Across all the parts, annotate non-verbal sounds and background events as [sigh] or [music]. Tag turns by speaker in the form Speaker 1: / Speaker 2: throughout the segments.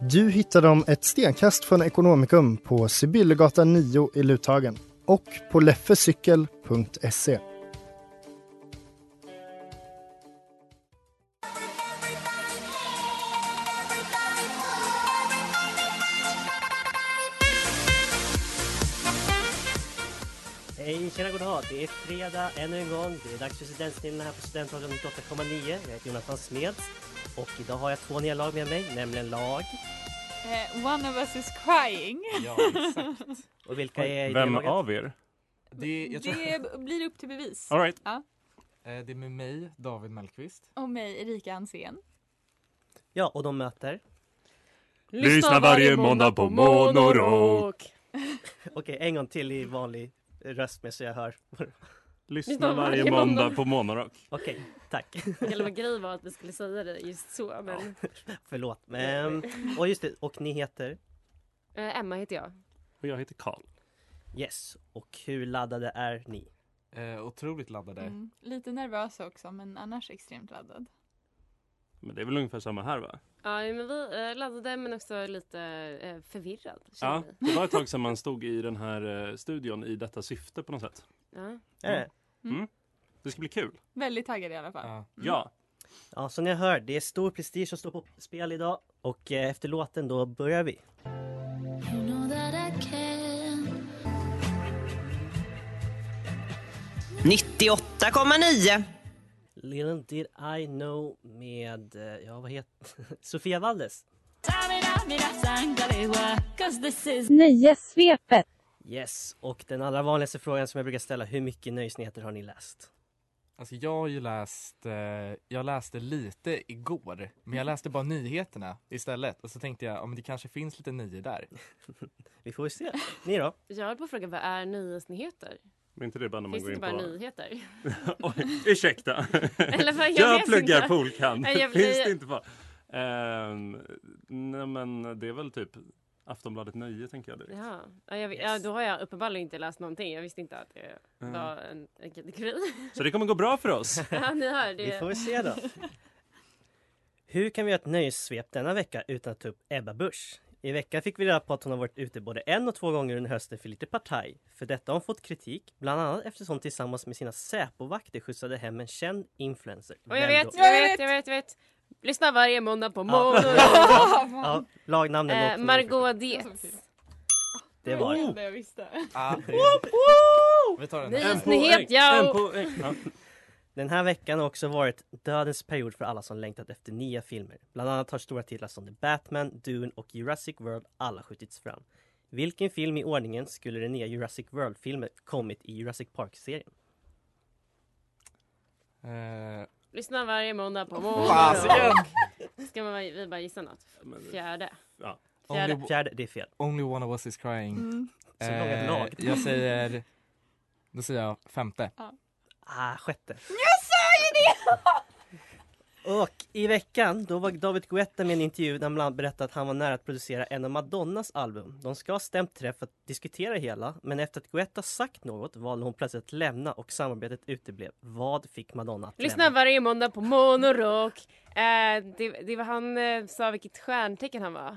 Speaker 1: Du hittar dem ett stenkast från Ekonomikum på Sibyllegatan 9 i Luthagen och på leffecykel.se.
Speaker 2: Hej, tjena, god dag. Det är fredag ännu en gång. Det är dags för studentstilen här på Studentradion 98,9. Jag heter Jonathan Smeds och idag har jag två nya lag med mig, nämligen lag.
Speaker 3: Eh, one of us is crying.
Speaker 2: Ja, exakt. Och vilka är i
Speaker 4: Vem
Speaker 2: laget?
Speaker 4: av er?
Speaker 5: Det, jag tror,
Speaker 3: Det b- blir upp till bevis.
Speaker 4: All right.
Speaker 5: eh, det är med mig, David Mellqvist.
Speaker 3: Och mig, Erika Ansén.
Speaker 2: Ja, och de möter.
Speaker 4: Lyssna varje måndag på Monorock.
Speaker 2: Okej, en gång till i vanlig röst med så jag hör.
Speaker 4: Lyssna varje måndag på Monorock.
Speaker 2: Okej, tack.
Speaker 6: Hela vår grej var att vi skulle säga det just så. Men,
Speaker 2: [laughs] Förlåt. Men, och just det, och ni heter?
Speaker 6: eh, Emma heter jag.
Speaker 4: Och jag heter Karl.
Speaker 2: Yes. Och hur laddade är ni?
Speaker 5: Eh, otroligt laddade.
Speaker 3: Mm. Lite nervös också men annars extremt laddad.
Speaker 4: Men det är väl ungefär samma här va?
Speaker 6: Ja, men vi eh, laddade men också lite eh, förvirrad. känner
Speaker 4: Ja,
Speaker 6: vi.
Speaker 4: det var ett tag sedan man stod i den här eh, studion i detta syfte på något sätt.
Speaker 6: Ja.
Speaker 2: Är det?
Speaker 4: Det ska bli kul.
Speaker 3: Väldigt taggad i alla fall.
Speaker 5: Ja.
Speaker 4: Ja.
Speaker 2: Ja, som ni hör, det är stor prestige som står på spel idag. Och eh, efter låten då börjar vi. Little did I know med, eh, ja vad heter [laughs] Sofia Valdes.
Speaker 7: Nöjessvepet.
Speaker 2: Yes, och den allra vanligaste frågan som jag brukar ställa, hur mycket nöjesnyheter har ni läst?
Speaker 5: Alltså jag har ju läst, eh, jag läste lite igår, men jag läste bara nyheterna istället. Och så tänkte jag, ja men det kanske finns lite nio där.
Speaker 2: Vi får väl se. Ni då?
Speaker 6: Jag höll på att fråga vad är nyhetsnyheter?
Speaker 4: Men inte det bara när man
Speaker 6: Finns det
Speaker 4: går in
Speaker 6: inte bara
Speaker 4: på...
Speaker 6: nyheter?
Speaker 4: [laughs] Oj, ursäkta.
Speaker 6: [laughs] Eller vad, jag
Speaker 4: jag
Speaker 6: vet
Speaker 4: pluggar
Speaker 6: inte.
Speaker 4: polkand.
Speaker 6: Nej, jag-
Speaker 4: Finns det
Speaker 6: jag-
Speaker 4: inte bara... Ehm, nej men det är väl typ Aftonbladet Nöje tänker jag direkt.
Speaker 6: Ja, ja, jag, ja, då har jag uppenbarligen inte läst någonting. Jag visste inte att det
Speaker 4: Mm.
Speaker 6: var en, en kategori.
Speaker 4: Så det kommer gå bra för oss.
Speaker 6: [laughs] ja, ni hör.
Speaker 2: Vi får
Speaker 6: Det.
Speaker 2: väl se [laughs] då. Hur kan vi göra ett nöjessvep denna vecka utan att ta upp Ebba Busch? I veckan fick vi reda på att hon har varit ute både en och två gånger under hösten för lite partaj. För detta har hon fått kritik, bland annat eftersom hon tillsammans med sina Säpovakter skjutsade hem en känd influencer.
Speaker 6: Och
Speaker 2: Vem
Speaker 6: jag vet,
Speaker 2: då?
Speaker 6: jag vet, jag vet, jag vet. Lyssna varje måndag på
Speaker 2: [laughs]
Speaker 6: Monorock.
Speaker 2: Ja, lagnamnen.
Speaker 6: Eh,
Speaker 2: låter-
Speaker 6: Margot Dietz.
Speaker 2: Det var det.
Speaker 3: enda jag visste.
Speaker 4: [laughs]
Speaker 5: Ah, det- Vi tar den här.
Speaker 6: Nyhetsnyhet, ja.
Speaker 4: Ja.
Speaker 2: Den här veckan har också varit dödens period för alla som längtat efter nya filmer. Bland annat har stora titlar som The Batman, Dune och Jurassic World alla skjutits fram. Vilken film i ordningen skulle den nya Jurassic World-filmen kommit i Jurassic Park-serien?
Speaker 5: Eh,
Speaker 6: Lyssna varje måndag på
Speaker 5: fasiken!
Speaker 6: Monorock. Ska man, vi bara gissa något? Fjärde.
Speaker 4: Ja.
Speaker 5: Om
Speaker 6: Fjärde.
Speaker 5: det-
Speaker 2: Fjärde, det är fel.
Speaker 5: only one of us is crying. Eh,
Speaker 3: Mm.
Speaker 2: Så långt lag.
Speaker 5: jag säger, då säger jag femte.
Speaker 2: Ah, sjätte. Jag sa ju det! Och i veckan, då var David Guetta med i en intervju där han bland annat berättade att han var nära att producera en av Madonnas album. De ska ha stämt träff för att diskutera hela, men efter att Guetta sagt något valde hon plötsligt att lämna och samarbetet uteblev. Vad fick Madonna att
Speaker 6: Lyssna
Speaker 2: lämna?
Speaker 6: varje måndag på Monorock. Eh, det, det var han eh, sa vilket stjärntecken han var.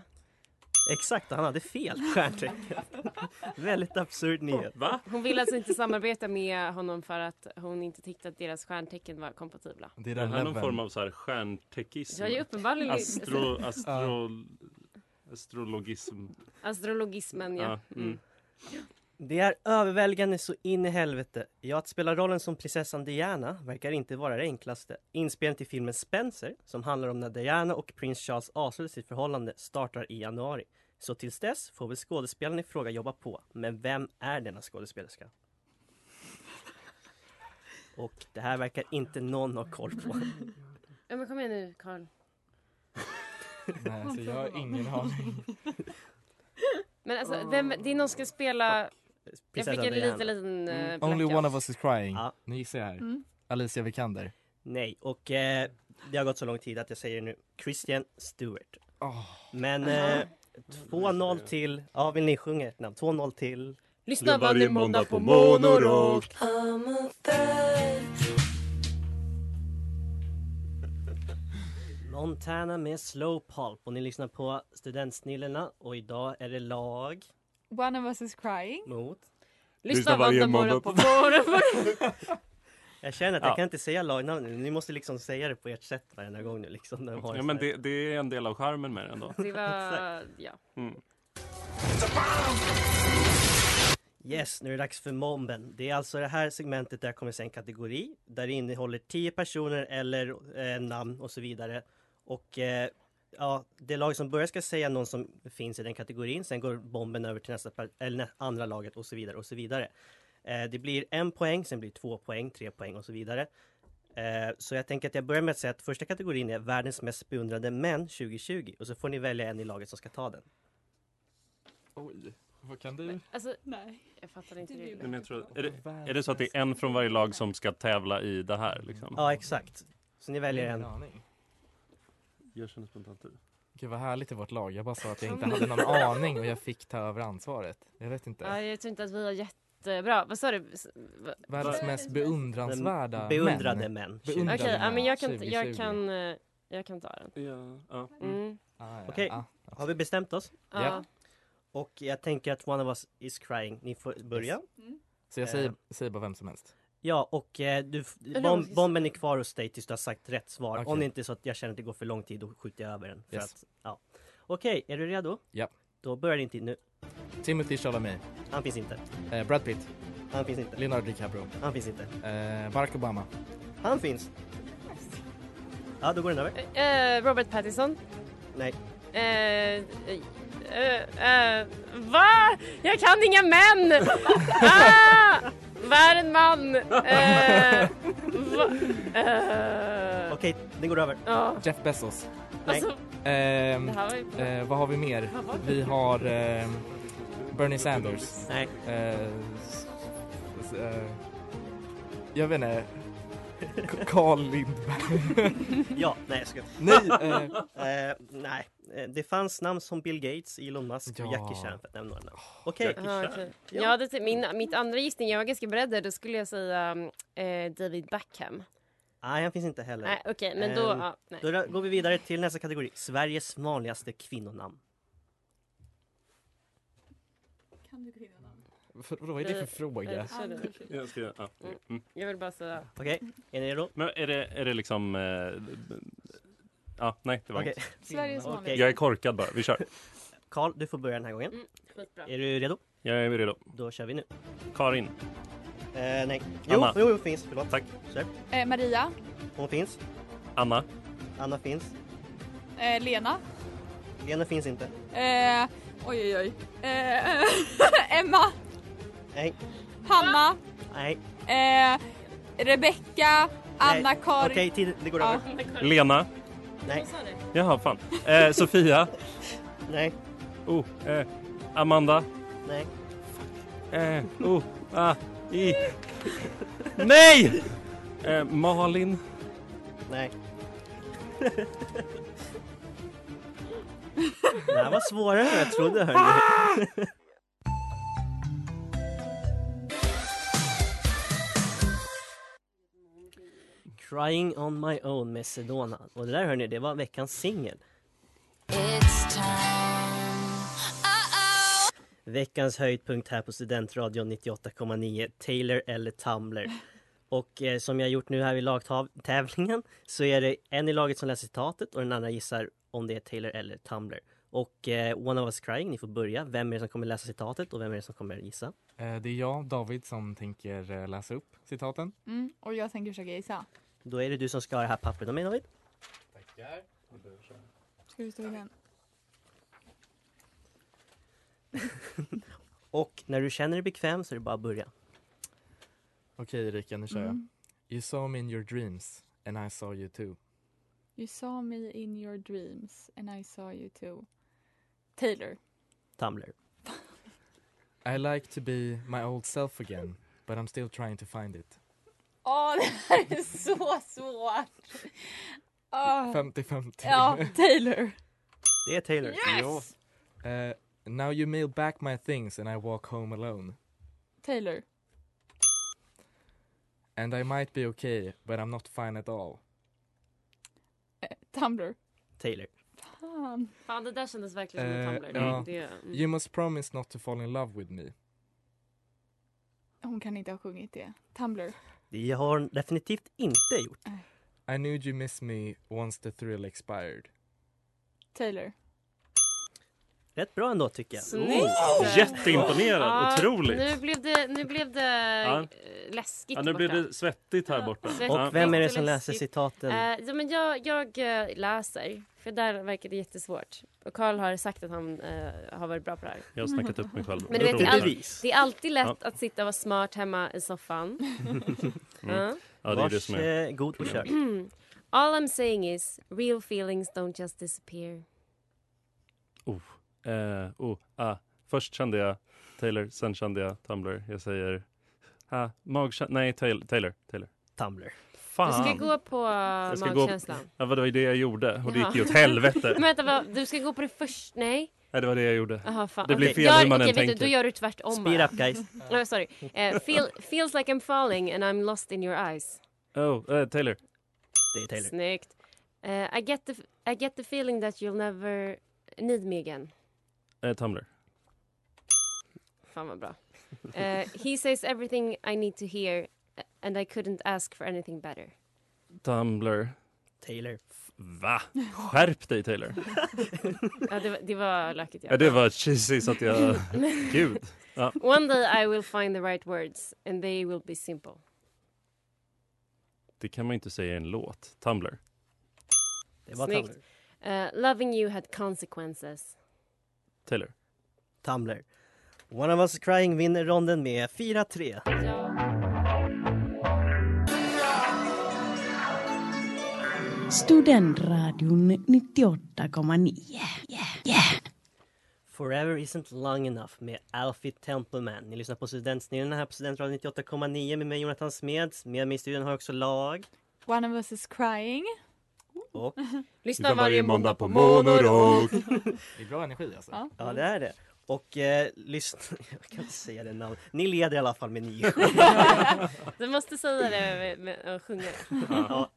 Speaker 2: Exakt, han hade fel [laughs] stjärntecken. Väldigt absurd nyhet.
Speaker 4: Va?
Speaker 6: Hon ville alltså inte samarbeta med honom för att hon inte tyckte att deras stjärntecken var kompatibla.
Speaker 5: Det är
Speaker 4: Det
Speaker 5: den
Speaker 4: här är någon
Speaker 5: leveln.
Speaker 4: form av så här stjärntekism.
Speaker 6: alltså, Jag är ju uppenbarligen...
Speaker 4: Astro... astro... Astrologism.
Speaker 6: Astrologismen, ja.
Speaker 4: Ja, mm.
Speaker 6: Mm.
Speaker 2: Det är överväldigande så in i helvete. Ja, att spela rollen som prinsessan Diana verkar inte vara det enklaste. Inspelningen till filmen Spencer, som handlar om när Diana och prins Charles avslutar sitt förhållande, startar i januari. Så tills dess får väl skådespelaren i fråga jobba på. Men vem är denna skådespelerska? Och det här verkar inte någon ha koll på.
Speaker 6: ja men kom igen nu, Karl.
Speaker 5: Nej, så jag har ingen aning.
Speaker 6: Men alltså, vem, det är någon som ska spela... [laughs]
Speaker 2: Ah.
Speaker 6: Jag fick
Speaker 2: Prinsessan
Speaker 6: en liten,
Speaker 2: Diana.
Speaker 6: liten eh,
Speaker 5: Mm,
Speaker 6: blackout.
Speaker 5: Only one of us is crying.
Speaker 2: Ja.
Speaker 5: Nu gissar jag här.
Speaker 3: Mm.
Speaker 5: Alicia Vikander.
Speaker 2: Nej, och eh, det har gått så lång tid att jag säger nu Christian Stewart.
Speaker 5: Åh.
Speaker 2: Men eh, 2-0 till, ja vill ni sjunga ett namn? 2-0 till
Speaker 6: Lyssna
Speaker 4: varje
Speaker 6: varje
Speaker 4: måndag
Speaker 6: måndag på
Speaker 4: på
Speaker 6: Monorock. [laughs]
Speaker 2: [laughs] Montana med Slow Pulp och ni lyssnar på Studentsnillena och idag är det lag
Speaker 3: One of us is crying.
Speaker 2: mot
Speaker 6: Lyssna varje måndag på Monorock.
Speaker 2: Jag känner att
Speaker 4: Ja.
Speaker 2: jag kan inte säga lagnamn nu, ni måste liksom säga det på ert sätt varenda gång nu liksom när de har
Speaker 4: Ja,
Speaker 2: sån
Speaker 4: men
Speaker 2: här-
Speaker 4: det, det är en del av charmen med den då.
Speaker 6: Det var... Ja.
Speaker 4: Mm.
Speaker 2: Yes, nu är det dags för momben. Det är alltså det här segmentet där jag kommer säga en kategori där det innehåller 10 personer eller eh, namn och så vidare. Och eh, ja, det lag som börjar ska säga någon som finns i den kategorin. Sen går bomben över till nästa per- eller nä- andra laget och så vidare och så vidare. Eh, det blir en poäng, sen blir det två poäng, tre poäng och så vidare. Eh, så jag tänker att jag börjar med att säga att första kategorin är världens mest beundrade män 2020 och så får ni välja en i laget som ska ta den.
Speaker 5: Oj, vad kan du?
Speaker 6: Alltså,
Speaker 3: Nej.
Speaker 6: jag fattar inte
Speaker 3: Det
Speaker 6: det.
Speaker 4: Men jag tror, är, det, är det så att det är en från varje lag som ska tävla i det här? Liksom?
Speaker 2: Ja, exakt. Så ni väljer en.
Speaker 5: Ingen aning.
Speaker 4: Jag känner spontant ut.
Speaker 5: Gud vad härligt i vårt lag. Jag bara sa att jag inte hade någon aning och jag fick ta över ansvaret. Jag vet
Speaker 6: Ja,
Speaker 5: inte.
Speaker 6: jag tror inte att vi har jättebra... Vad sa du? S- va-
Speaker 5: Världens mest beundransvärda
Speaker 2: Beundrade
Speaker 5: män.
Speaker 2: män.
Speaker 5: Beundrade
Speaker 6: Okej,
Speaker 5: Undrade
Speaker 6: ja, men jag kan,
Speaker 5: män,
Speaker 6: jag
Speaker 5: 2020.
Speaker 6: kan, eh, jag kan ta den.
Speaker 4: Ja, ja.
Speaker 6: Mm.
Speaker 5: Ah, ja,
Speaker 2: Okej.
Speaker 5: ah.
Speaker 2: Har vi bestämt oss?
Speaker 6: Ja.
Speaker 5: Ja.
Speaker 2: Och jag tänker att one of us is crying. Ni får börja.
Speaker 5: Så jag säger, säger bara vem som helst.
Speaker 2: Ja, och eh, du, f-
Speaker 6: Eller
Speaker 2: bom,
Speaker 6: vad ska-
Speaker 2: bomben är kvar hos dig tills du har sagt rätt svar.
Speaker 5: Okej.
Speaker 2: Om det inte är så att jag känner att det går för lång tid, då skjuter jag över den. För
Speaker 5: Yes.
Speaker 2: att, ja. Okej, är du redo?
Speaker 5: Ja.
Speaker 2: Då börjar din tid nu.
Speaker 5: Timothy Chalamet,
Speaker 2: Han finns inte.
Speaker 5: eh, Brad Pitt,
Speaker 2: Han finns inte.
Speaker 5: Leonardo DiCaprio,
Speaker 2: Han finns inte.
Speaker 5: eh, Barack Obama,
Speaker 2: Han finns! Ja, då går den över.
Speaker 6: Eh, Robert Pattinson.
Speaker 2: Nej.
Speaker 6: Eh, eh, eh, va? Jag kan inga män! Ah! Vad är en man? Eh, va? Eh,
Speaker 2: Okej, den går över.
Speaker 6: ja,
Speaker 5: Jeff Bezos.
Speaker 6: alltså,
Speaker 5: Ehm,
Speaker 6: det här var ju...
Speaker 5: eh, vad har vi mer? Vi har ehm, Bernie Sanders.
Speaker 2: Nej.
Speaker 5: Eh, s- s- eh, jag vet inte. K- Carl Lindberg.
Speaker 2: Ja, nej jag ska.
Speaker 5: Nej! Eh,
Speaker 2: Eh, nej, Eh, det fanns namn som Bill Gates, Elon Musk och
Speaker 5: Ja.
Speaker 2: Jackie Chan för att nämna några namn. Okej,
Speaker 6: Ja, okej. Jag hade t- min, mitt andra gissning, jag var ganska beredd där, då skulle jag säga eh, David Beckham.
Speaker 2: nej han finns inte heller.
Speaker 6: Nej okej, men då...
Speaker 4: Eh,
Speaker 2: Ehm,
Speaker 6: ja, nej.
Speaker 2: Då ra- går vi vidare till nästa kategori. Sveriges vanligaste kvinnonamn.
Speaker 3: Kan du kvinnonamn?
Speaker 5: för, vad är det för fråga?
Speaker 6: Eh, kör du.
Speaker 4: Jag, ska, ja.
Speaker 6: Mm.
Speaker 4: Mm.
Speaker 6: Jag vill bara säga...
Speaker 3: [laughs]
Speaker 2: Okej, är ni redo?
Speaker 4: Men är det, är det liksom... Eh, ja, nej, det var
Speaker 2: Okej.
Speaker 4: inget.
Speaker 3: Sveriges
Speaker 2: Okej.
Speaker 3: vanligaste.
Speaker 4: Jag är korkad bara. Vi kör.
Speaker 2: Karl, du får börja den här gången.
Speaker 3: Mm.
Speaker 6: Skitbra.
Speaker 4: Eh,
Speaker 2: Är du redo?
Speaker 4: Jag är redo.
Speaker 2: Då kör vi nu.
Speaker 4: Karin.
Speaker 2: Eh, nej. Jo,
Speaker 4: Anna.
Speaker 2: jo, jo, finns. Förlåt.
Speaker 4: Tack.
Speaker 2: Kör.
Speaker 3: Eh, Maria.
Speaker 2: Hon finns.
Speaker 4: Anna.
Speaker 2: Anna finns.
Speaker 3: Eh, Lena.
Speaker 2: Lena finns inte.
Speaker 3: Eh, oj, oj, oj. Eh, [laughs] Emma.
Speaker 2: Nej.
Speaker 3: Hanna.
Speaker 2: Nej.
Speaker 3: Eh, Rebecka.
Speaker 2: Nej.
Speaker 3: Anna-Karin.
Speaker 2: Okej, tid, det går
Speaker 3: Ja.
Speaker 2: över.
Speaker 4: Lena.
Speaker 2: Nej.
Speaker 4: Jaha, fan. Eh, Sofia.
Speaker 2: Nej.
Speaker 4: Oh, eh, Amanda.
Speaker 2: Nej.
Speaker 4: Eh, oh, ah,
Speaker 6: [laughs]
Speaker 4: i. Nej! Eh, Malin.
Speaker 2: Nej. det här var svårare än jag trodde. Hörni. Crying on my own med Sedona. Och det där hörni, det var veckans singel. Veckans höjdpunkt här på Studentradion 98,9 Taylor eller Tumblr. Och eh, som jag gjort nu här vid [laughs] lagtävlingen så är det en i laget som läser citatet och den andra gissar om det är Taylor eller Tumblr. Och eh, One of us crying, ni får börja. Vem är det som kommer läsa citatet och vem är det som kommer gissa?
Speaker 5: Eh, det är jag, David, som tänker eh, läsa upp citaten.
Speaker 3: Mm, och jag tänker försöka gissa.
Speaker 2: Då är det du som ska ha det här pappret av mig David.
Speaker 3: Ska vi stå igen?
Speaker 2: Och när du känner dig bekväm så är det bara att börja.
Speaker 5: Okej Erika, nu kör
Speaker 3: Mm.
Speaker 5: jag. You saw me in your dreams and I saw you too.
Speaker 3: You saw me in your dreams and I saw you too. Taylor.
Speaker 2: Tumblr.
Speaker 5: I like to be my old self again but I'm still trying to find it.
Speaker 3: Åh, [laughs] det här är så svårt! Åh.
Speaker 5: 50-50.
Speaker 3: Ah. Ja, Taylor.
Speaker 2: Det är Taylor.
Speaker 3: Yes!
Speaker 5: [laughs] Eh, now you mail back my things and I walk home alone.
Speaker 3: Taylor.
Speaker 5: And I might be okay but I'm not fine at all.
Speaker 3: Eh, Tumblr.
Speaker 2: Taylor.
Speaker 3: Fan.
Speaker 6: Fan, det där kändes verkligen som
Speaker 5: Eh,
Speaker 6: en Tumblr.
Speaker 5: ja.
Speaker 6: Det, mm.
Speaker 5: You must promise not to fall in love with me.
Speaker 3: Hon kan inte ha sjungit det. Tumblr.
Speaker 2: Det har hon definitivt inte gjort.
Speaker 5: I knew you miss me once the thrill expired.
Speaker 3: Taylor.
Speaker 2: Rätt bra ändå tycker jag.
Speaker 6: Snyggt!
Speaker 4: Jätteimponerad,
Speaker 6: Ja,
Speaker 4: otroligt!
Speaker 6: Nu blev det, nu blev det
Speaker 4: Ja.
Speaker 6: eh, läskigt
Speaker 4: Ja, nu blir
Speaker 6: borta.
Speaker 4: det svettigt här borta.
Speaker 6: Svettigt.
Speaker 4: Ja.
Speaker 2: Och vem är det som
Speaker 6: Jätteläskigt.
Speaker 2: läser citaten?
Speaker 6: Eh, ja, men jag, jag eh, läser, för där verkar det jättesvårt. Och Karl har sagt att han eh, har varit bra på det här.
Speaker 4: Jag har snackat upp mig själv.
Speaker 6: Men du vet,
Speaker 4: Otroligt.
Speaker 6: det är alltid- Det är alltid lätt
Speaker 4: Ja.
Speaker 6: att sitta och vara smart hemma i soffan.
Speaker 4: Mm.
Speaker 6: Ja.
Speaker 4: Ja, det är det som är...
Speaker 2: Varsågod eh, och kör.
Speaker 6: [clears throat] All I'm saying is, real feelings don't just disappear.
Speaker 4: Eh, oh, ah. Först kände jag Taylor, sen kände jag Tumblr. Jag säger... Ah, magkänsla... Nej, Taylor. Taylor. Taylor.
Speaker 2: Tumblr.
Speaker 6: Du
Speaker 4: Fan!
Speaker 6: ska gå på
Speaker 4: ska gå-
Speaker 6: magkänslan.
Speaker 4: Ja, vad det var ju det jag gjorde och det
Speaker 6: Jaha.
Speaker 4: gick ju åt helvete.
Speaker 6: [laughs] Men vänta, vad, du ska gå på det först? Nej?
Speaker 4: Nej, det var det jag gjorde.
Speaker 6: Aha, fan.
Speaker 4: Det blir
Speaker 6: Okej.
Speaker 4: fel
Speaker 6: Jag-
Speaker 4: hur man
Speaker 6: okej,
Speaker 4: än
Speaker 6: vet du,
Speaker 4: tänker.
Speaker 6: Då gör du tvärtom
Speaker 2: Speed up guys.
Speaker 6: Oh, sorry. Eh, feel, feels like I'm falling and I'm lost in your eyes.
Speaker 4: Oh, eh, Taylor.
Speaker 2: Det är Taylor.
Speaker 6: Snyggt. Eh, I, get the, I get the feeling that you'll never need me again.
Speaker 4: Eh, Tumblr.
Speaker 6: Fan vad bra. Eh, he says everything I need to hear eh, and I couldn't ask for anything better.
Speaker 4: Tumblr.
Speaker 2: Taylor.
Speaker 4: Va? Skärp dig, Taylor.
Speaker 6: Ja, det, var- det var lökigt.
Speaker 4: Ja, det var cheesy så att
Speaker 6: [laughs]
Speaker 4: jag... Gud.
Speaker 6: One day I will find the right words and they will be simple.
Speaker 4: Det kan man ju inte säga i en låt. Tumblr.
Speaker 2: Det var
Speaker 6: Snyggt.
Speaker 2: Tumblr.
Speaker 6: Eh, loving you had consequences.
Speaker 4: Taylor.
Speaker 2: Tumblr. One of us crying vinner ronden med 4-3.
Speaker 6: Ja.
Speaker 8: Studentradion 98,9.
Speaker 2: Forever isn't long enough med Alfie Templeman. Ni lyssnar på Studentsnillena här på Studentradion 98,9 med mig Jonathan Smeds. Med mig i studion har jag också lag.
Speaker 3: One of us is crying.
Speaker 2: Och
Speaker 6: Lyssna varje måndag
Speaker 4: [laughs]
Speaker 6: på
Speaker 4: Monorock.
Speaker 5: Det är bra energi alltså.
Speaker 3: Ja.
Speaker 2: ja, det är det. Och eh, lyssna, [laughs] jag kan inte säga det namnet. Ni leder i alla fall med 9
Speaker 6: Du måste säga det med, med, och sjunga det.
Speaker 2: ja.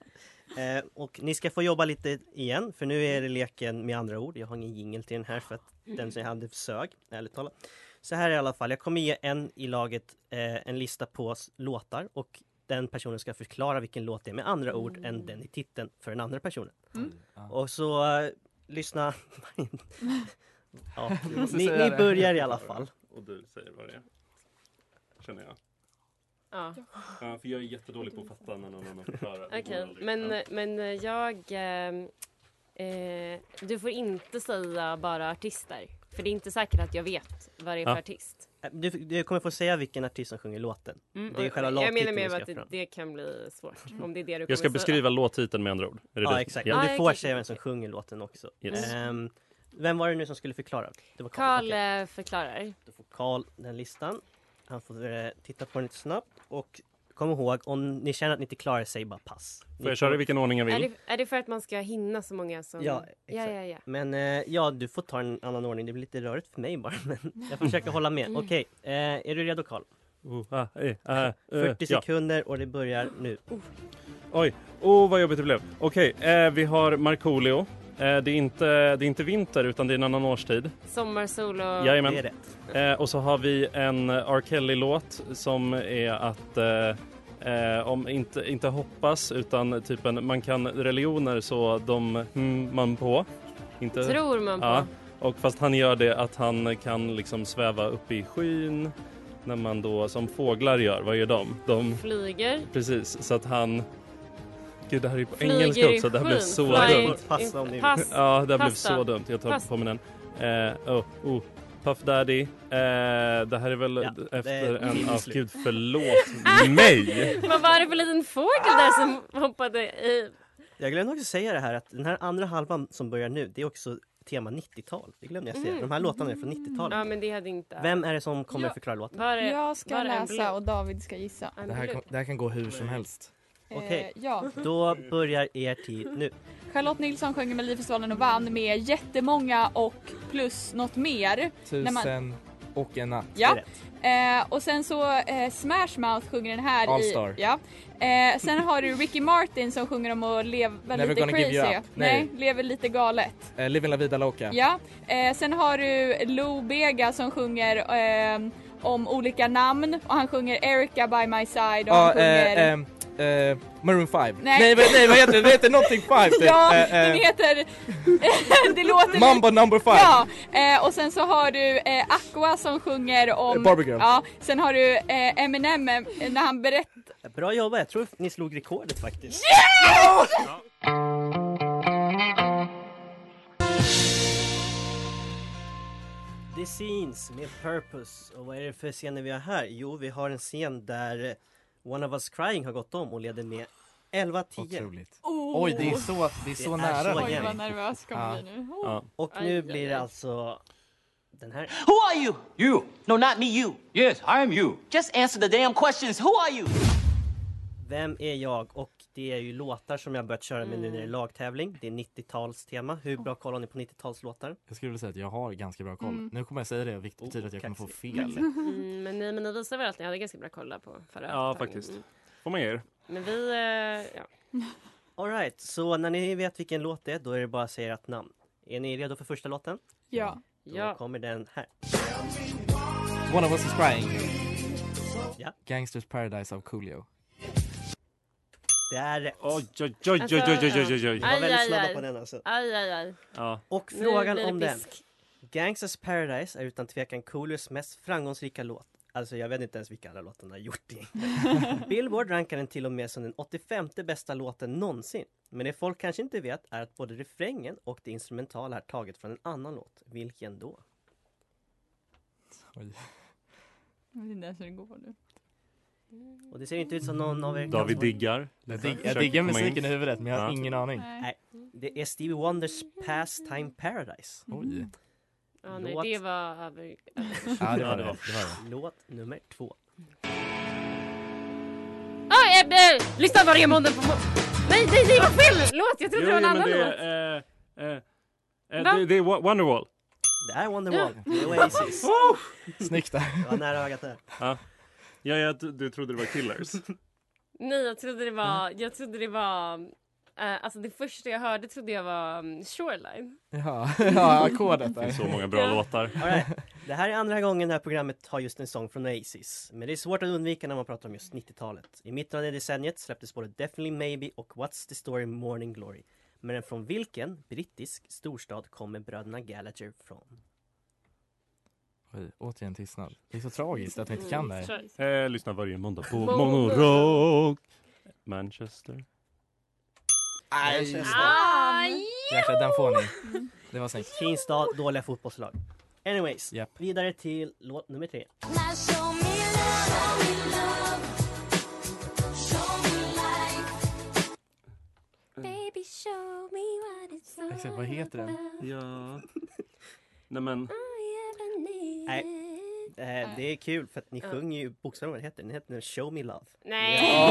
Speaker 2: eh, och ni ska få jobba lite igen för nu är det leken med andra ord. Jag har ingen jingel till den här för att den som jag hade sög, ärligt talat. Så här är i alla fall, jag kommer ge en i laget eh, en lista på s- låtar och den personen ska förklara vilken låt det är med andra ord än den i titeln för den andra personen.
Speaker 3: Mm.
Speaker 5: Ja.
Speaker 2: Och så eh, lyssna... [laughs] ja,
Speaker 5: måste
Speaker 2: ni,
Speaker 5: säga
Speaker 2: ni
Speaker 5: det.
Speaker 2: börjar i alla fall.
Speaker 4: Och du säger vad det är. Känner jag.
Speaker 6: Ja.
Speaker 4: Ja, för jag är jättedålig på att fatta när någon annan förklarar. Det går
Speaker 6: Okej,
Speaker 4: aldrig.
Speaker 6: men,
Speaker 4: Ja.
Speaker 6: men jag... ehm, Eh, du får inte säga bara artister. För det är inte säkert att jag vet vad det är för
Speaker 4: Ja.
Speaker 6: artist.
Speaker 2: Eh, Du, du kommer få säga vilken artist som sjunger låten. Det är
Speaker 6: Mm, och-
Speaker 2: själva
Speaker 6: Jag menar
Speaker 2: låttiteln vi
Speaker 6: med
Speaker 2: ska
Speaker 6: att det,
Speaker 2: fram.
Speaker 6: det kan bli svårt. Om det är det du
Speaker 4: Jag ska
Speaker 6: kommer säga.
Speaker 4: beskriva låttiteln med andra ord. Är det
Speaker 2: Ja
Speaker 4: det?
Speaker 2: exakt,
Speaker 6: Ja,
Speaker 2: och du
Speaker 6: jag
Speaker 2: får
Speaker 6: kanske-
Speaker 2: säga vem som sjunger låten också.
Speaker 4: Yes.
Speaker 2: Ehm, vem var det nu som skulle förklara? Det var
Speaker 6: Karl
Speaker 2: Okej,
Speaker 6: eh, förklarar.
Speaker 2: Då får Karl den listan. Han får eh, titta på den lite snabbt och kom ihåg om ni känner att ni inte klarar sig, bara pass. Ni
Speaker 4: Får jag köra i vilken ordning jag
Speaker 6: Är
Speaker 4: vill?
Speaker 6: det, är det för att man ska hinna så många som...
Speaker 2: Ja, exakt.
Speaker 6: Mm. ja, ja, ja.
Speaker 2: Men eh, ja, du får ta en annan ordning. Det blir lite rörigt för mig bara, [laughs] men jag försöker hålla med. Okej, eh, är du redo Karl?
Speaker 4: Oh, ah, eh, ah, eh,
Speaker 2: 40
Speaker 4: ja.
Speaker 2: sekunder och det börjar nu.
Speaker 4: Oj, oh, vad jobbigt det blev. Okej, eh, vi har Markoolio. Eh, det, är inte, det är inte vinter utan det är en annan årstid.
Speaker 6: Sommarsol och...
Speaker 4: Jajamän.
Speaker 2: Det är rätt.
Speaker 4: Eh, och så har vi en R. Kelly-låt som är att eh, eh, om inte, inte hoppas utan typ en man kan religioner så de mm, man på. Inte,
Speaker 6: Tror man på.
Speaker 4: Ja. Och fast han gör det att han kan liksom sväva upp i skyn när man då, som fåglar gör, vad gör de? De
Speaker 6: Flyger.
Speaker 4: Precis, så att han... Gud, det här är ju på
Speaker 6: Flyger
Speaker 4: engelska
Speaker 6: i
Speaker 4: också. Det här blev
Speaker 6: skyn.
Speaker 4: så
Speaker 6: Fly-
Speaker 4: dumt.
Speaker 6: Pass om ni vill. pass.
Speaker 4: Ja, det här blev
Speaker 6: Pasta.
Speaker 4: så dumt. Jag tar
Speaker 6: Pass.
Speaker 4: på mig den. Eh, oh, oh. Puff Daddy. Eh, det här är väl efter
Speaker 2: det är
Speaker 4: en...
Speaker 2: till
Speaker 4: Oh,
Speaker 2: slut.
Speaker 4: gud,
Speaker 6: [laughs]
Speaker 4: förlåt mig!
Speaker 6: Vad var det för liten fågel där
Speaker 4: Ah!
Speaker 6: som hoppade i?
Speaker 2: Jag glömde också säga det här att den här andra halvan som börjar nu det är också tema 90-tal. Det glömde jag säga.
Speaker 6: Mm.
Speaker 2: De här låtarna är från
Speaker 6: Ja
Speaker 2: 90-talet.
Speaker 6: men det hade inte...
Speaker 2: Vem är det som kommer
Speaker 6: Ja.
Speaker 2: förklara låten?
Speaker 6: Var
Speaker 5: Eh,
Speaker 6: det,
Speaker 3: Jag ska
Speaker 6: var det en
Speaker 3: läsa
Speaker 6: blå?
Speaker 3: och David ska gissa.
Speaker 6: En
Speaker 5: Det här,
Speaker 6: blå?
Speaker 5: kan- det här kan gå hur som helst.
Speaker 3: Eh,
Speaker 2: Okej.
Speaker 3: ja.
Speaker 2: Då börjar er tid nu.
Speaker 3: Charlotte Nilsson sjöng i Melodifestivalen och vann med jättemånga och plus något mer. När
Speaker 5: Tusen
Speaker 3: man-
Speaker 5: och en natt.
Speaker 3: Ja.
Speaker 2: Det är rätt.
Speaker 3: Eh, och sen så eh, Smash Mouth sjunger den här
Speaker 5: All
Speaker 3: i...
Speaker 5: Star.
Speaker 3: Ja. Eh, sen har du Ricky Martin som sjunger om att leva
Speaker 5: Never
Speaker 3: lite
Speaker 5: gonna
Speaker 3: crazy.
Speaker 5: give you up.
Speaker 3: Nej,
Speaker 5: Nej.
Speaker 3: lever lite galet.
Speaker 5: Eh, Living La Vida Loca.
Speaker 3: Ja. Eh, sen har du Lou Bega som sjunger ehm, om olika namn och han sjunger Erica by my side och han
Speaker 5: Ja,
Speaker 3: sjunger...
Speaker 5: eh, eh, eh, Maroon 5.
Speaker 3: Nej.
Speaker 5: Nej, vad- nej vad heter det? Det heter någonting 5 typ.
Speaker 3: ja,
Speaker 5: Eh, eh,
Speaker 3: den heter... [laughs] det låter
Speaker 5: Mambo number 5.
Speaker 3: Ja, eh, och sen så har du eh, Aqua som sjunger om...
Speaker 5: Eh, Barbie Girl.
Speaker 3: Ja, sen har du eh, Eminem eh, när han berättar...
Speaker 2: Bra jobbat, jag tror ni slog rekordet faktiskt. The Scenes med Purpose. Och vad är det för scener vi har här? Jo, vi har en scen där eh, One of Us Crying har gått om och leder med 11-10.
Speaker 5: Otroligt. Oj, det är så, det är så
Speaker 2: är
Speaker 5: nära.
Speaker 2: så
Speaker 3: Oh. Oj
Speaker 2: jämnt.
Speaker 3: vad nervös kommer bli nu. Oh.
Speaker 4: Ja.
Speaker 2: Och
Speaker 6: Aj,
Speaker 2: nu
Speaker 6: aj,
Speaker 2: blir det
Speaker 6: aj.
Speaker 2: alltså den här.
Speaker 7: Who are you? You. No, not me, you. Yes, I am you. Just answer the damn questions. Who are you?
Speaker 2: Vem är jag? Och det är ju låtar som jag börjat köra med nu när det
Speaker 6: Mm.
Speaker 2: är lagtävling. Det är 90-talstema. Hur
Speaker 6: Oh.
Speaker 2: bra koll har ni på 90-talslåtar?
Speaker 5: Jag skulle vilja säga att jag har ganska bra koll.
Speaker 3: Mm.
Speaker 5: Nu kommer jag säga det, vilket betyder att jag kommer få fel.
Speaker 6: Mm, men, ni, men ni visade väl att ni hade ganska bra koll där på förra
Speaker 4: Ja,
Speaker 6: upptagningen.
Speaker 4: faktiskt.
Speaker 6: Mm.
Speaker 4: Får man ge er.
Speaker 6: Men vi... Eh, ja.
Speaker 2: Alright, så när ni vet vilken låt det är, då är det bara att säga ert namn. Är ni redo för första låten?
Speaker 3: Ja.
Speaker 2: Då
Speaker 6: ja.
Speaker 2: kommer den här.
Speaker 5: One of us is crying.
Speaker 2: Ja.
Speaker 5: Gangsters Paradise av Coolio.
Speaker 2: Det är rätt.
Speaker 4: Oj, oj, oj, oj, oj, oj, oj, oj.
Speaker 2: Ni var
Speaker 6: Aj,
Speaker 2: väldigt
Speaker 6: aj,
Speaker 2: snabba
Speaker 6: aj.
Speaker 2: på den alltså.
Speaker 6: Aj, aj, aj.
Speaker 4: Ja.
Speaker 2: Och
Speaker 6: Nu
Speaker 2: frågan
Speaker 6: blir det
Speaker 2: om den.
Speaker 6: pisk.
Speaker 2: Gangsters Paradise är utan tvekan Coolios mest framgångsrika låt. Alltså jag vet inte ens vilka alla låtarna har gjort egentligen. Billboard rankar den till och med som den 85 bästa låten någonsin. Men det folk kanske inte vet är att både refrängen och det instrumentala är taget från en annan låt. Vilken då?
Speaker 3: Jag vet inte ens hur det går nu.
Speaker 2: Och det ser inte ut som någon av er kan
Speaker 4: David
Speaker 2: svara.
Speaker 4: diggar.
Speaker 5: Jag, dig, jag
Speaker 4: Försöker
Speaker 5: diggar
Speaker 4: komma in.
Speaker 5: musiken i huvudet men jag har
Speaker 4: Ja.
Speaker 5: ingen aning.
Speaker 3: Nej.
Speaker 2: Det är Stevie Wonders Pastime Paradise.
Speaker 3: Mm.
Speaker 5: Oj.
Speaker 6: Ja, nej,
Speaker 2: Låt.
Speaker 6: det var över...
Speaker 5: Ja, det
Speaker 4: Ja,
Speaker 5: var
Speaker 4: det
Speaker 5: det.
Speaker 4: var-
Speaker 5: det, var det.
Speaker 2: Låt nummer två.
Speaker 6: Oj, eh, eh, lyssna på Remonden på... Nej, nej, nej, vad fel låt! Jag
Speaker 4: Jo,
Speaker 6: trodde det
Speaker 4: jo,
Speaker 6: var en
Speaker 4: men
Speaker 6: annan
Speaker 4: det
Speaker 6: låt.
Speaker 4: är... eh, eh, eh,
Speaker 6: Va?
Speaker 4: det- Det är Wo- Wonderwall.
Speaker 2: Det är Wonderwall, med Oasis.
Speaker 5: Snyggt
Speaker 3: [laughs]
Speaker 5: där.
Speaker 2: Det var nära ögat där.
Speaker 4: Ja, jag, du- du trodde det var Killers.
Speaker 6: Nej, jag trodde det var... Jag trodde det var... eh, alltså det första jag hörde trodde jag var um, Shoreline.
Speaker 5: Ja, ja ackordet
Speaker 4: Det är
Speaker 5: där.
Speaker 4: så många bra
Speaker 6: Ja.
Speaker 4: låtar.
Speaker 2: All right. Det här är andra gången det här programmet har just en sång från Oasis. Men det är svårt att undvika när man pratar om just 90-talet. I mitten av det decenniet släpptes både Definitely Maybe och What's the Story Morning Glory. Men den från vilken brittisk storstad kommer bröderna Gallagher från?
Speaker 5: Oj, återigen tystnad. Det är så tragiskt att vi inte kan det
Speaker 3: Mm.
Speaker 5: här.
Speaker 6: Shore-
Speaker 4: Eh, lyssna varje måndag på
Speaker 6: Måndag.
Speaker 4: Monorock. Manchester.
Speaker 5: Aj!
Speaker 3: Ah,
Speaker 6: Aj!
Speaker 5: Jäklar, den får ni.
Speaker 3: Mm.
Speaker 5: Det var snyggt.
Speaker 2: Fin stad, dåliga fotbollslag. Anyways,
Speaker 5: Japp.
Speaker 2: vidare till låt nummer tre.
Speaker 6: Baby show me what it's all
Speaker 5: Exakt, vad heter den?
Speaker 4: Ja. Nej men,
Speaker 2: Nej. Eh, det är kul för att ni sjunger ju bokstavligen vad den heter. Den heter Show Me Love.
Speaker 6: Nej! [laughs]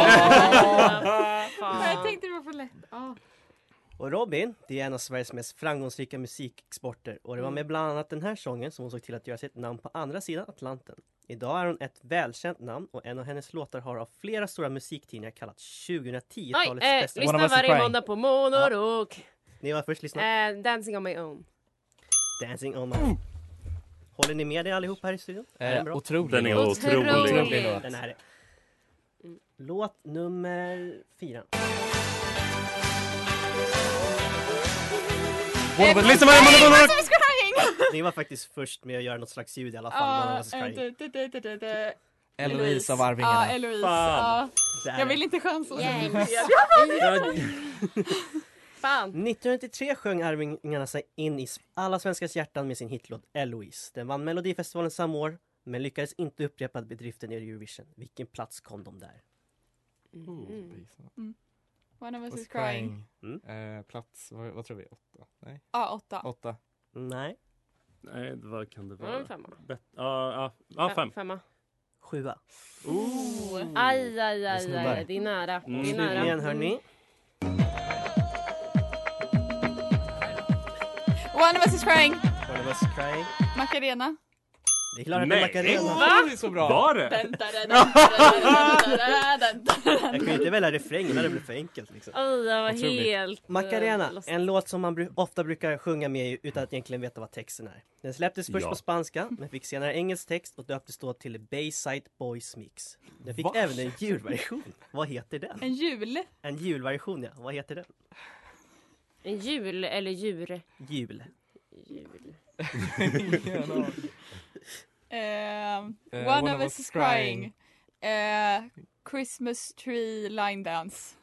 Speaker 3: Men Jag
Speaker 6: Fan.
Speaker 3: tänkte det var för lätt. Ah. Ja.
Speaker 2: Och Robin, det är en av Sveriges mest framgångsrika musikexporter och det var
Speaker 3: Mm.
Speaker 2: med bland annat den här sången som hon såg till att göra sitt namn på andra sidan Atlanten. Idag är hon ett välkänt namn och en av hennes låtar har av flera stora musiktidningar kallats 2010-talets
Speaker 6: Oj, eh,
Speaker 2: bästa låt.
Speaker 5: One of
Speaker 6: lyssna
Speaker 5: us is
Speaker 6: varje
Speaker 5: crying.
Speaker 6: måndag på Monorock.
Speaker 2: Ni var först, lyssna.
Speaker 6: Eh, dancing on my own.
Speaker 3: Eh.
Speaker 2: Dancing on my
Speaker 3: Mm.
Speaker 2: own. Håller ni med er allihop här i studion? Är den
Speaker 5: Eh,
Speaker 2: bra?
Speaker 5: otrolig
Speaker 4: den är
Speaker 5: låt.
Speaker 4: otrolig.
Speaker 5: Otrolig låt.
Speaker 2: Den här är.
Speaker 3: Mm.
Speaker 2: Låt nummer fyra.
Speaker 3: Eh,
Speaker 5: One of us- Lyssna varje måndag på Monorock!
Speaker 3: Crying!
Speaker 2: Ni var faktiskt först med att göra något slags ljud i alla fall.
Speaker 3: Ja,
Speaker 2: när man var
Speaker 3: eh,
Speaker 2: skraj.
Speaker 3: du- du- du- du- du- du.
Speaker 5: Eloise av Arvingarna.
Speaker 3: Ja, Eloise.
Speaker 2: Fan.
Speaker 3: Ja.
Speaker 2: Där.
Speaker 3: Jag vill inte chansa.
Speaker 6: Yes. Fan.
Speaker 2: 1993 sjöng Arvingarna sig in i alla svenskars hjärtan med sin hitlåt Eloise. Den vann Melodifestivalen samma år, men lyckades inte upprepa bedriften i Eurovision. Vilken plats kom de där?
Speaker 3: Mm. Mm. One of us
Speaker 5: Was
Speaker 3: is crying.
Speaker 5: Oh, crying.
Speaker 4: Mm.
Speaker 5: Eh, plats, vad, vad tror vi? Åtta? Nej.
Speaker 3: Ja, Ah, åtta. [laughs]
Speaker 5: Åtta.
Speaker 2: Nej.
Speaker 4: Nej, vad kan det
Speaker 6: Var det
Speaker 4: vara?
Speaker 6: en femma?
Speaker 4: Bet- ja, ja, ja, fem.
Speaker 6: Femma.
Speaker 2: Sjua.
Speaker 6: Aj, aj,
Speaker 2: Jag
Speaker 6: aj,
Speaker 2: snubbar.
Speaker 6: aj, det är nära.
Speaker 4: Mm.
Speaker 6: Det är nära. [laughs]
Speaker 2: Slutligen hörni.
Speaker 3: One of us is crying.
Speaker 2: One of us crying.
Speaker 3: Macarena.
Speaker 2: Det är klart att det
Speaker 4: Nej.
Speaker 2: är Macarena.
Speaker 4: Va?
Speaker 5: Det är så bra.
Speaker 4: Var det?
Speaker 3: Dun, dun, dun, dun, dun, dun, dun,
Speaker 2: Jag
Speaker 3: dun.
Speaker 2: kunde inte välja refrängen, det hade blivit för enkelt. Liksom.
Speaker 6: Aj, jag var
Speaker 2: Otroligt.
Speaker 6: helt... eh,
Speaker 2: Macarena,
Speaker 6: lost.
Speaker 2: en låt som man bru- ofta brukar sjunga med i utan att egentligen veta vad texten är. Den släpptes först
Speaker 4: Ja.
Speaker 2: på spanska, men fick senare engelsk text och döptes då till Bayside Boys Mix. Den fick
Speaker 5: Va?
Speaker 2: även en julversion. Vad heter den?
Speaker 3: En jul. Eh,
Speaker 2: En julversion ja, vad heter den?
Speaker 6: En jul eller djur?
Speaker 2: Jul. [laughs]
Speaker 6: Jul.
Speaker 5: Ingen aning.
Speaker 3: Ehm,
Speaker 5: Eh,
Speaker 3: one, of us is crying. Eh, Christmas tree line dance.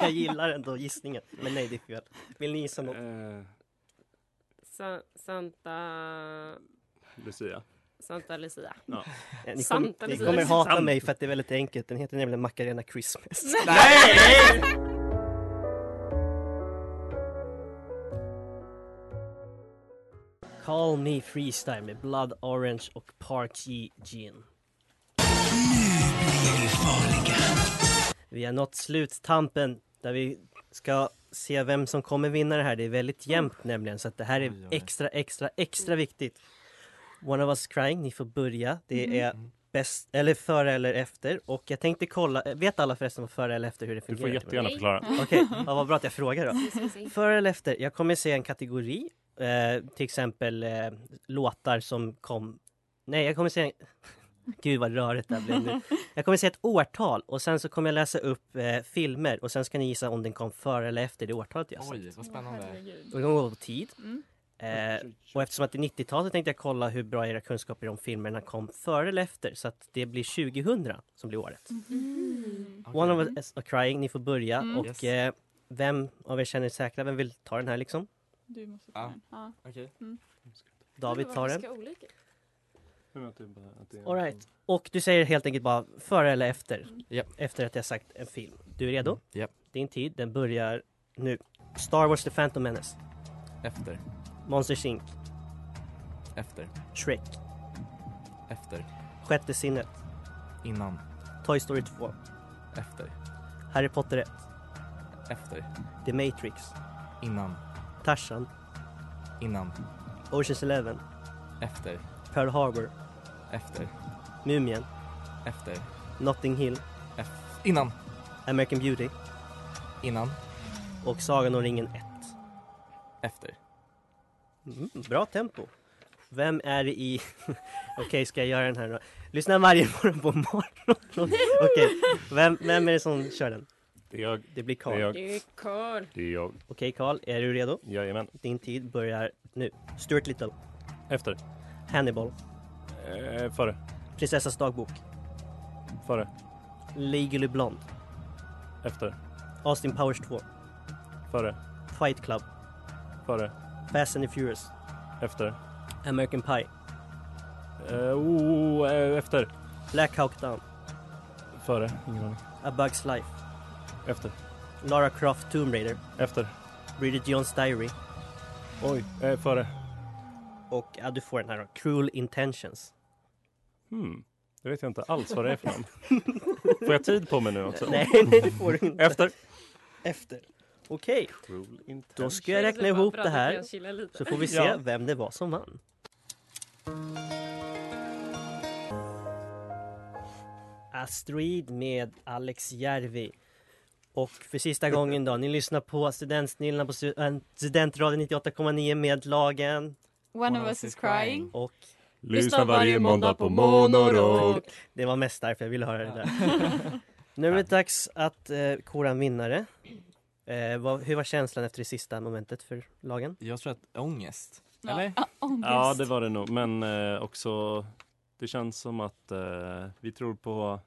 Speaker 2: Jag gillar ändå gissningen, men nej det är fel. Vill ni gissa något?
Speaker 4: Eh,
Speaker 6: Sa- Santa...
Speaker 4: Lucia.
Speaker 6: Santa Lucia.
Speaker 4: Ja.
Speaker 2: Eh, Ni,
Speaker 6: Sant,
Speaker 2: ni
Speaker 6: Alicia.
Speaker 2: kommer hata
Speaker 4: Sant.
Speaker 2: mig för att det är väldigt enkelt. Den heter nämligen Macarena Christmas. Call Me Freestyle med Blood Orange och Park Ji Jin. Vi har nått sluttampen där vi ska se vem som kommer vinna det här. Det är väldigt jämnt nämligen så att det här är extra, extra, extra viktigt. One of us crying, ni får börja.
Speaker 4: Mm.
Speaker 2: Det är bäst, eller före eller efter. Och jag tänkte kolla, vet alla förresten vad före eller efter hur det
Speaker 4: Du
Speaker 2: fungerar?
Speaker 4: får jättegärna
Speaker 6: Nej.
Speaker 4: förklara.
Speaker 2: Okej, ja, vad bra att jag frågar då.
Speaker 6: Vi ska se.
Speaker 2: Före eller efter? Jag kommer se en kategori, eh, till exempel eh, låtar som kom... Nej, jag kommer se... [laughs] Gud vad rörigt det här blev nu. Jag kommer se ett årtal och sen så kommer jag läsa upp eh, filmer och sen ska ni gissa om den kom före eller efter det årtalet jag sa.
Speaker 5: Oj, vad spännande.
Speaker 2: Och det kommer gå på tid.
Speaker 3: Mm.
Speaker 2: Eh, och eftersom att det är 90-tal så tänkte jag kolla hur bra era kunskaper om filmerna kom före eller efter så att det blir 2000 som blir året. One of us are crying, ni får börja
Speaker 3: Mm.
Speaker 2: och
Speaker 5: Yes.
Speaker 2: eh, vem av er känner er säkra? Vem vill ta den här liksom?
Speaker 3: Du måste ta
Speaker 5: Ja.
Speaker 3: den. Ja.
Speaker 5: Okej.
Speaker 2: David tar den.
Speaker 6: Varför ska olika?
Speaker 2: All right. Och du säger helt enkelt bara före eller efter.
Speaker 5: Japp.
Speaker 2: Efter att jag sagt en film. Du är redo?
Speaker 5: Japp.
Speaker 2: Din tid, den börjar nu. Star Wars The Phantom Menace.
Speaker 5: Efter,
Speaker 2: Monsters Inc.
Speaker 5: efter,
Speaker 2: Shrek.
Speaker 5: efter,
Speaker 2: Sjätte sinnet.
Speaker 5: innan,
Speaker 2: Toy Story 2.
Speaker 5: efter,
Speaker 2: Harry Potter 1.
Speaker 5: efter,
Speaker 2: The Matrix.
Speaker 5: innan,
Speaker 2: Tarzan.
Speaker 5: innan,
Speaker 2: Oceans Eleven.
Speaker 5: efter,
Speaker 2: Pearl Harbor.
Speaker 5: efter,
Speaker 2: Mumien.
Speaker 5: efter,
Speaker 2: Notting Hill.
Speaker 5: efter, innan,
Speaker 2: American Beauty.
Speaker 5: innan,
Speaker 2: Och Sagan om ringen 1.
Speaker 5: efter.
Speaker 2: Mm, bra tempo. Vem är det i... [laughs] Okej, ska jag göra den här då? Lyssna varje morgon på morgonen. Okej, vem, vem är det som kör den?
Speaker 4: Det är jag.
Speaker 2: Det blir
Speaker 4: Det är
Speaker 2: Karl.
Speaker 4: jag.
Speaker 2: Okej,
Speaker 6: Det är Karl.
Speaker 4: Det är jag.
Speaker 2: Karl, är du redo?
Speaker 4: Jajamän.
Speaker 2: Din tid börjar nu. Stuart Little,
Speaker 4: Efter.
Speaker 2: Hannibal,
Speaker 4: Eh, före.
Speaker 2: Prinsessans dagbok,
Speaker 4: Före.
Speaker 2: Legally Blonde,
Speaker 4: Efter.
Speaker 2: Austin Powers 2,
Speaker 4: Före.
Speaker 2: Fight Club,
Speaker 4: Före.
Speaker 2: Fast and the Furious,
Speaker 4: Efter.
Speaker 2: American Pie,
Speaker 4: Eh, oh, eh, efter.
Speaker 2: Black Hawk Down,
Speaker 4: Före. Ingen aning.
Speaker 2: A Bug's Life,
Speaker 4: Efter.
Speaker 2: Lara Croft Tomb Raider,
Speaker 4: Efter.
Speaker 2: Bridget Jones Diary
Speaker 4: Oj. Eh, före.
Speaker 2: och ja, du får den här då, Cruel Intentions.
Speaker 4: Hmm. Det vet jag inte alls vad det är för
Speaker 2: [laughs]
Speaker 4: någon. Får jag tid på mig nu också?
Speaker 2: Nej, nej det får du inte.
Speaker 4: Efter.
Speaker 2: Efter. Okej,
Speaker 4: Cruel
Speaker 2: då
Speaker 4: intention.
Speaker 2: ska jag räkna ihop det här så
Speaker 6: Så
Speaker 2: får vi se
Speaker 4: Ja.
Speaker 2: vem det var som vann. Asteroid med Alex Järvi. Och för sista gången då, ni lyssnar på Studentsnillena på stu- äh, Studentradion 98,9 med lagen
Speaker 3: One, of us is crying.
Speaker 2: och
Speaker 6: Lyssna varje måndag på Monorock.
Speaker 2: det var mest därför jag ville höra det där.
Speaker 5: [laughs]
Speaker 2: nu är det dags att eh, kora en vinnare. Eh, vad, hur var känslan efter det sista momentet för lagen?
Speaker 5: Jag tror att ångest. Eller?
Speaker 3: Ja, ångest.
Speaker 4: Ja, det var det nog. Men eh, också, det känns som att eh, vi tror på,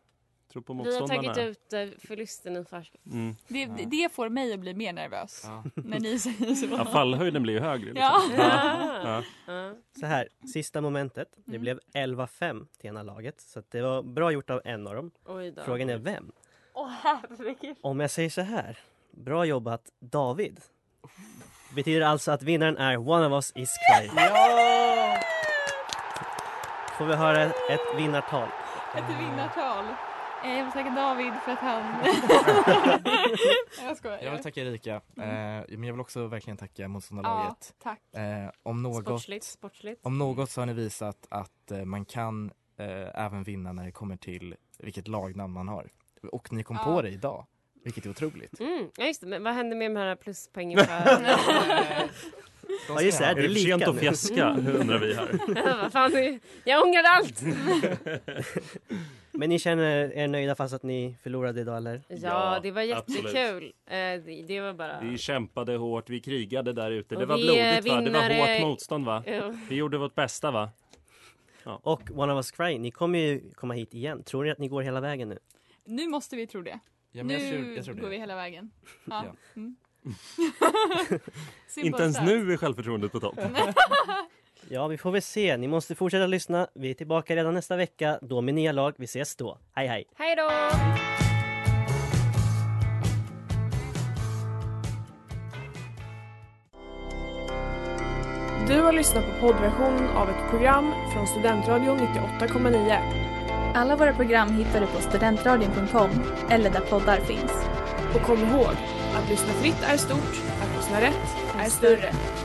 Speaker 4: tror på
Speaker 6: Vi har
Speaker 4: motståndarna.
Speaker 6: tagit ut eh, förlusten i förskott.
Speaker 4: Mm.
Speaker 3: Det, det- det får mig att bli mer nervös när ni säger så.
Speaker 4: Ja, fallhöjden blir ju högre. Liksom.
Speaker 3: Ja.
Speaker 4: Ja.
Speaker 6: Ja.
Speaker 2: Så här, sista momentet. Det
Speaker 6: Mm.
Speaker 2: blev 11-5 till ena laget. Så att det var bra gjort av en av dem.
Speaker 6: Oj då.
Speaker 2: Frågan är vem?
Speaker 6: Åh herregud.
Speaker 2: Om jag säger så här. Bra jobbat David. Betyder alltså att vinnaren är One of us is crazy.
Speaker 3: Ja!
Speaker 2: Får vi höra ett vinnartal?
Speaker 3: Ett vinnartal. Eh, Jag vill tacka David för att han... [laughs] jag skojar.
Speaker 5: Jag vill tacka Erika, eh, men jag vill också verkligen tacka motståndarlaget.
Speaker 3: Mm. Ja, tack.
Speaker 5: Eh, om, något,
Speaker 6: Sportsligt, sportsligt.
Speaker 5: om något så har ni visat att eh, man kan eh, även vinna när det kommer till vilket lagnamn man har. Och ni kom
Speaker 6: Ja.
Speaker 5: på det idag, vilket är otroligt.
Speaker 6: Mm, ja just det, men vad hände med de här pluspoängen
Speaker 5: [laughs]
Speaker 3: [laughs]
Speaker 6: för... [laughs]
Speaker 5: Ja, just det,
Speaker 4: är
Speaker 5: det är
Speaker 4: det för
Speaker 5: lika
Speaker 4: sent att
Speaker 5: nu.
Speaker 4: fjäska, undrar vi här.
Speaker 6: vad fan, det- jag
Speaker 5: [laughs]
Speaker 6: ångrar allt!
Speaker 2: Men ni känner er nöjda fast att ni förlorade idag eller?
Speaker 6: Ja, det var
Speaker 4: absolut.
Speaker 6: jättekul. Eh, det- Det var bara...
Speaker 4: Vi kämpade hårt, vi krigade där ute. Det
Speaker 6: Och
Speaker 4: var
Speaker 6: vi,
Speaker 4: blodigt
Speaker 6: eh,
Speaker 4: va? Det var
Speaker 6: vinnare-
Speaker 4: hårt motstånd va?
Speaker 6: Ja.
Speaker 4: Vi gjorde vårt bästa va?
Speaker 2: Och One of us cry, ni kommer ju komma hit igen. Tror ni att ni går hela vägen nu?
Speaker 3: Nu måste vi tro det.
Speaker 5: Ja,
Speaker 3: nu
Speaker 5: men jag tror- jag tror det.
Speaker 3: går vi hela vägen. Ja.
Speaker 5: Ja. [laughs]
Speaker 3: Mm. Simple
Speaker 4: Inte ens
Speaker 3: as
Speaker 4: nu är självförtroendet på topp.
Speaker 2: Ja, vi får väl se. Ni måste fortsätta lyssna. Vi är tillbaka redan nästa vecka, då med nya lag. Vi ses då. Hej hej!
Speaker 6: Hej då!
Speaker 9: Du har lyssnat på poddversion av ett program från Studentradion 98,9.
Speaker 10: Alla våra program hittar du på studentradion.com eller där poddar finns.
Speaker 9: Och kom ihåg, att lyssna fritt är stort, att lyssna rätt är större.